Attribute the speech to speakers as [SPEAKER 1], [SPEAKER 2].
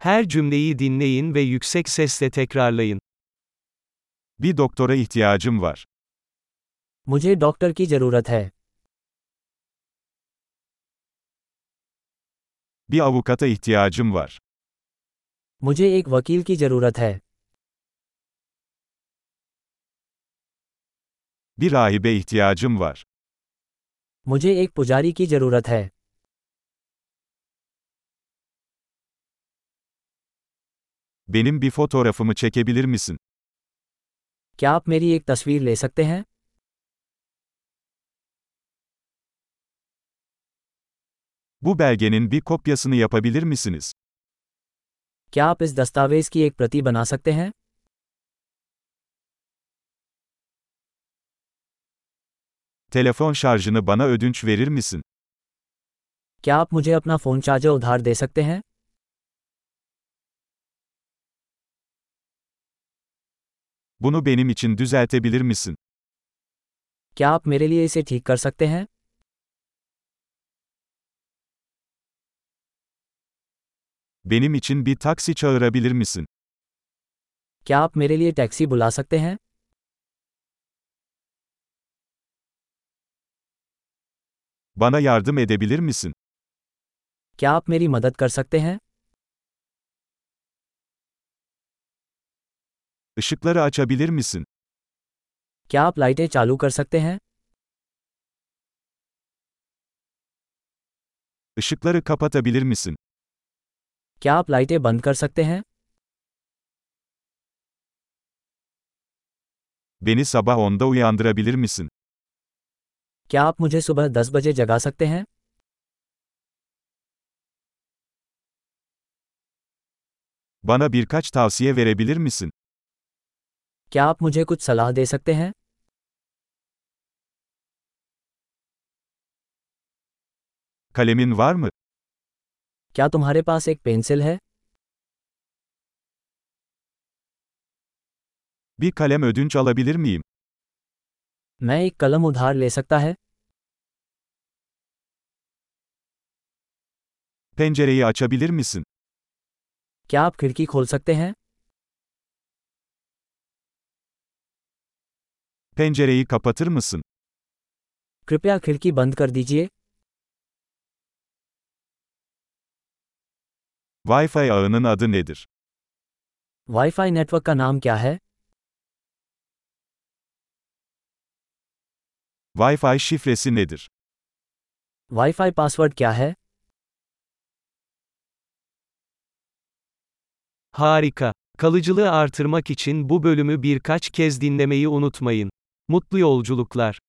[SPEAKER 1] Her cümleyi dinleyin ve yüksek sesle tekrarlayın.
[SPEAKER 2] Bir doktora ihtiyacım var.
[SPEAKER 3] मुझे doctor की जरूरत है
[SPEAKER 2] Bir avukata ihtiyacım var.
[SPEAKER 3] मुझे एक वकील की जरूरत है
[SPEAKER 2] Bir rahibe ihtiyacım var.
[SPEAKER 3] मुझे एक पुजारी की जरूरत है
[SPEAKER 2] Benim bir fotoğrafımı çekebilir misin?
[SPEAKER 3] क्या आप मेरी एक तस्वीर ले सकते हैं
[SPEAKER 2] Bu belgenin bir kopyasını yapabilir misiniz?
[SPEAKER 3] क्या आप इस दस्तावेज की एक प्रति बना सकते हैं
[SPEAKER 2] Telefon şarjını bana ödünç verir misin?
[SPEAKER 3] क्या आप मुझे अपना फोन चार्जर उधार दे सकते हैं
[SPEAKER 2] Bunu benim için düzeltebilir misin?
[SPEAKER 3] क्या आप मेरे लिए इसे ठीक कर सकते हैं
[SPEAKER 2] Benim için bir taksi çağırabilir misin?
[SPEAKER 3] क्या आप मेरे लिए टैक्सी बुला सकते हैं
[SPEAKER 2] Bana yardım edebilir misin?
[SPEAKER 3] क्या आप मेरी मदद कर सकते हैं
[SPEAKER 2] Işıkları açabilir misin?
[SPEAKER 3] क्या आप लाइटें चालू कर सकते हैं
[SPEAKER 2] Işıkları kapatabilir misin?
[SPEAKER 3] क्या आप लाइटें बंद कर सकते हैं
[SPEAKER 2] Beni sabah 10'da uyandırabilir misin?
[SPEAKER 3] क्या आप मुझे सुबह दस बजे जगा सकते हैं
[SPEAKER 2] Bana birkaç tavsiye verebilir misin?
[SPEAKER 3] क्या आप मुझे कुछ सलाह दे सकते हैं
[SPEAKER 2] Kalemin var mı?
[SPEAKER 3] क्या तुम्हारे पास एक पेंसिल है
[SPEAKER 2] Bir kalem ödünç alabilir miyim?
[SPEAKER 3] मैं एक कलम उधार ले सकता है
[SPEAKER 2] Pencereyi açabilir misin?
[SPEAKER 3] क्या आप खिड़की खोल सकते हैं
[SPEAKER 2] Pencereyi kapatır mısın?
[SPEAKER 3] कृपया खिड़की बंद कर दीजिए
[SPEAKER 2] Wi-Fi ağının adı nedir?
[SPEAKER 3] Wifi network का नाम क्या है
[SPEAKER 2] Wi-Fi şifresi nedir?
[SPEAKER 3] Wifi password क्या है
[SPEAKER 1] Harika. Kalıcılığı artırmak için bu bölümü birkaç kez dinlemeyi unutmayın. Mutlu yolculuklar.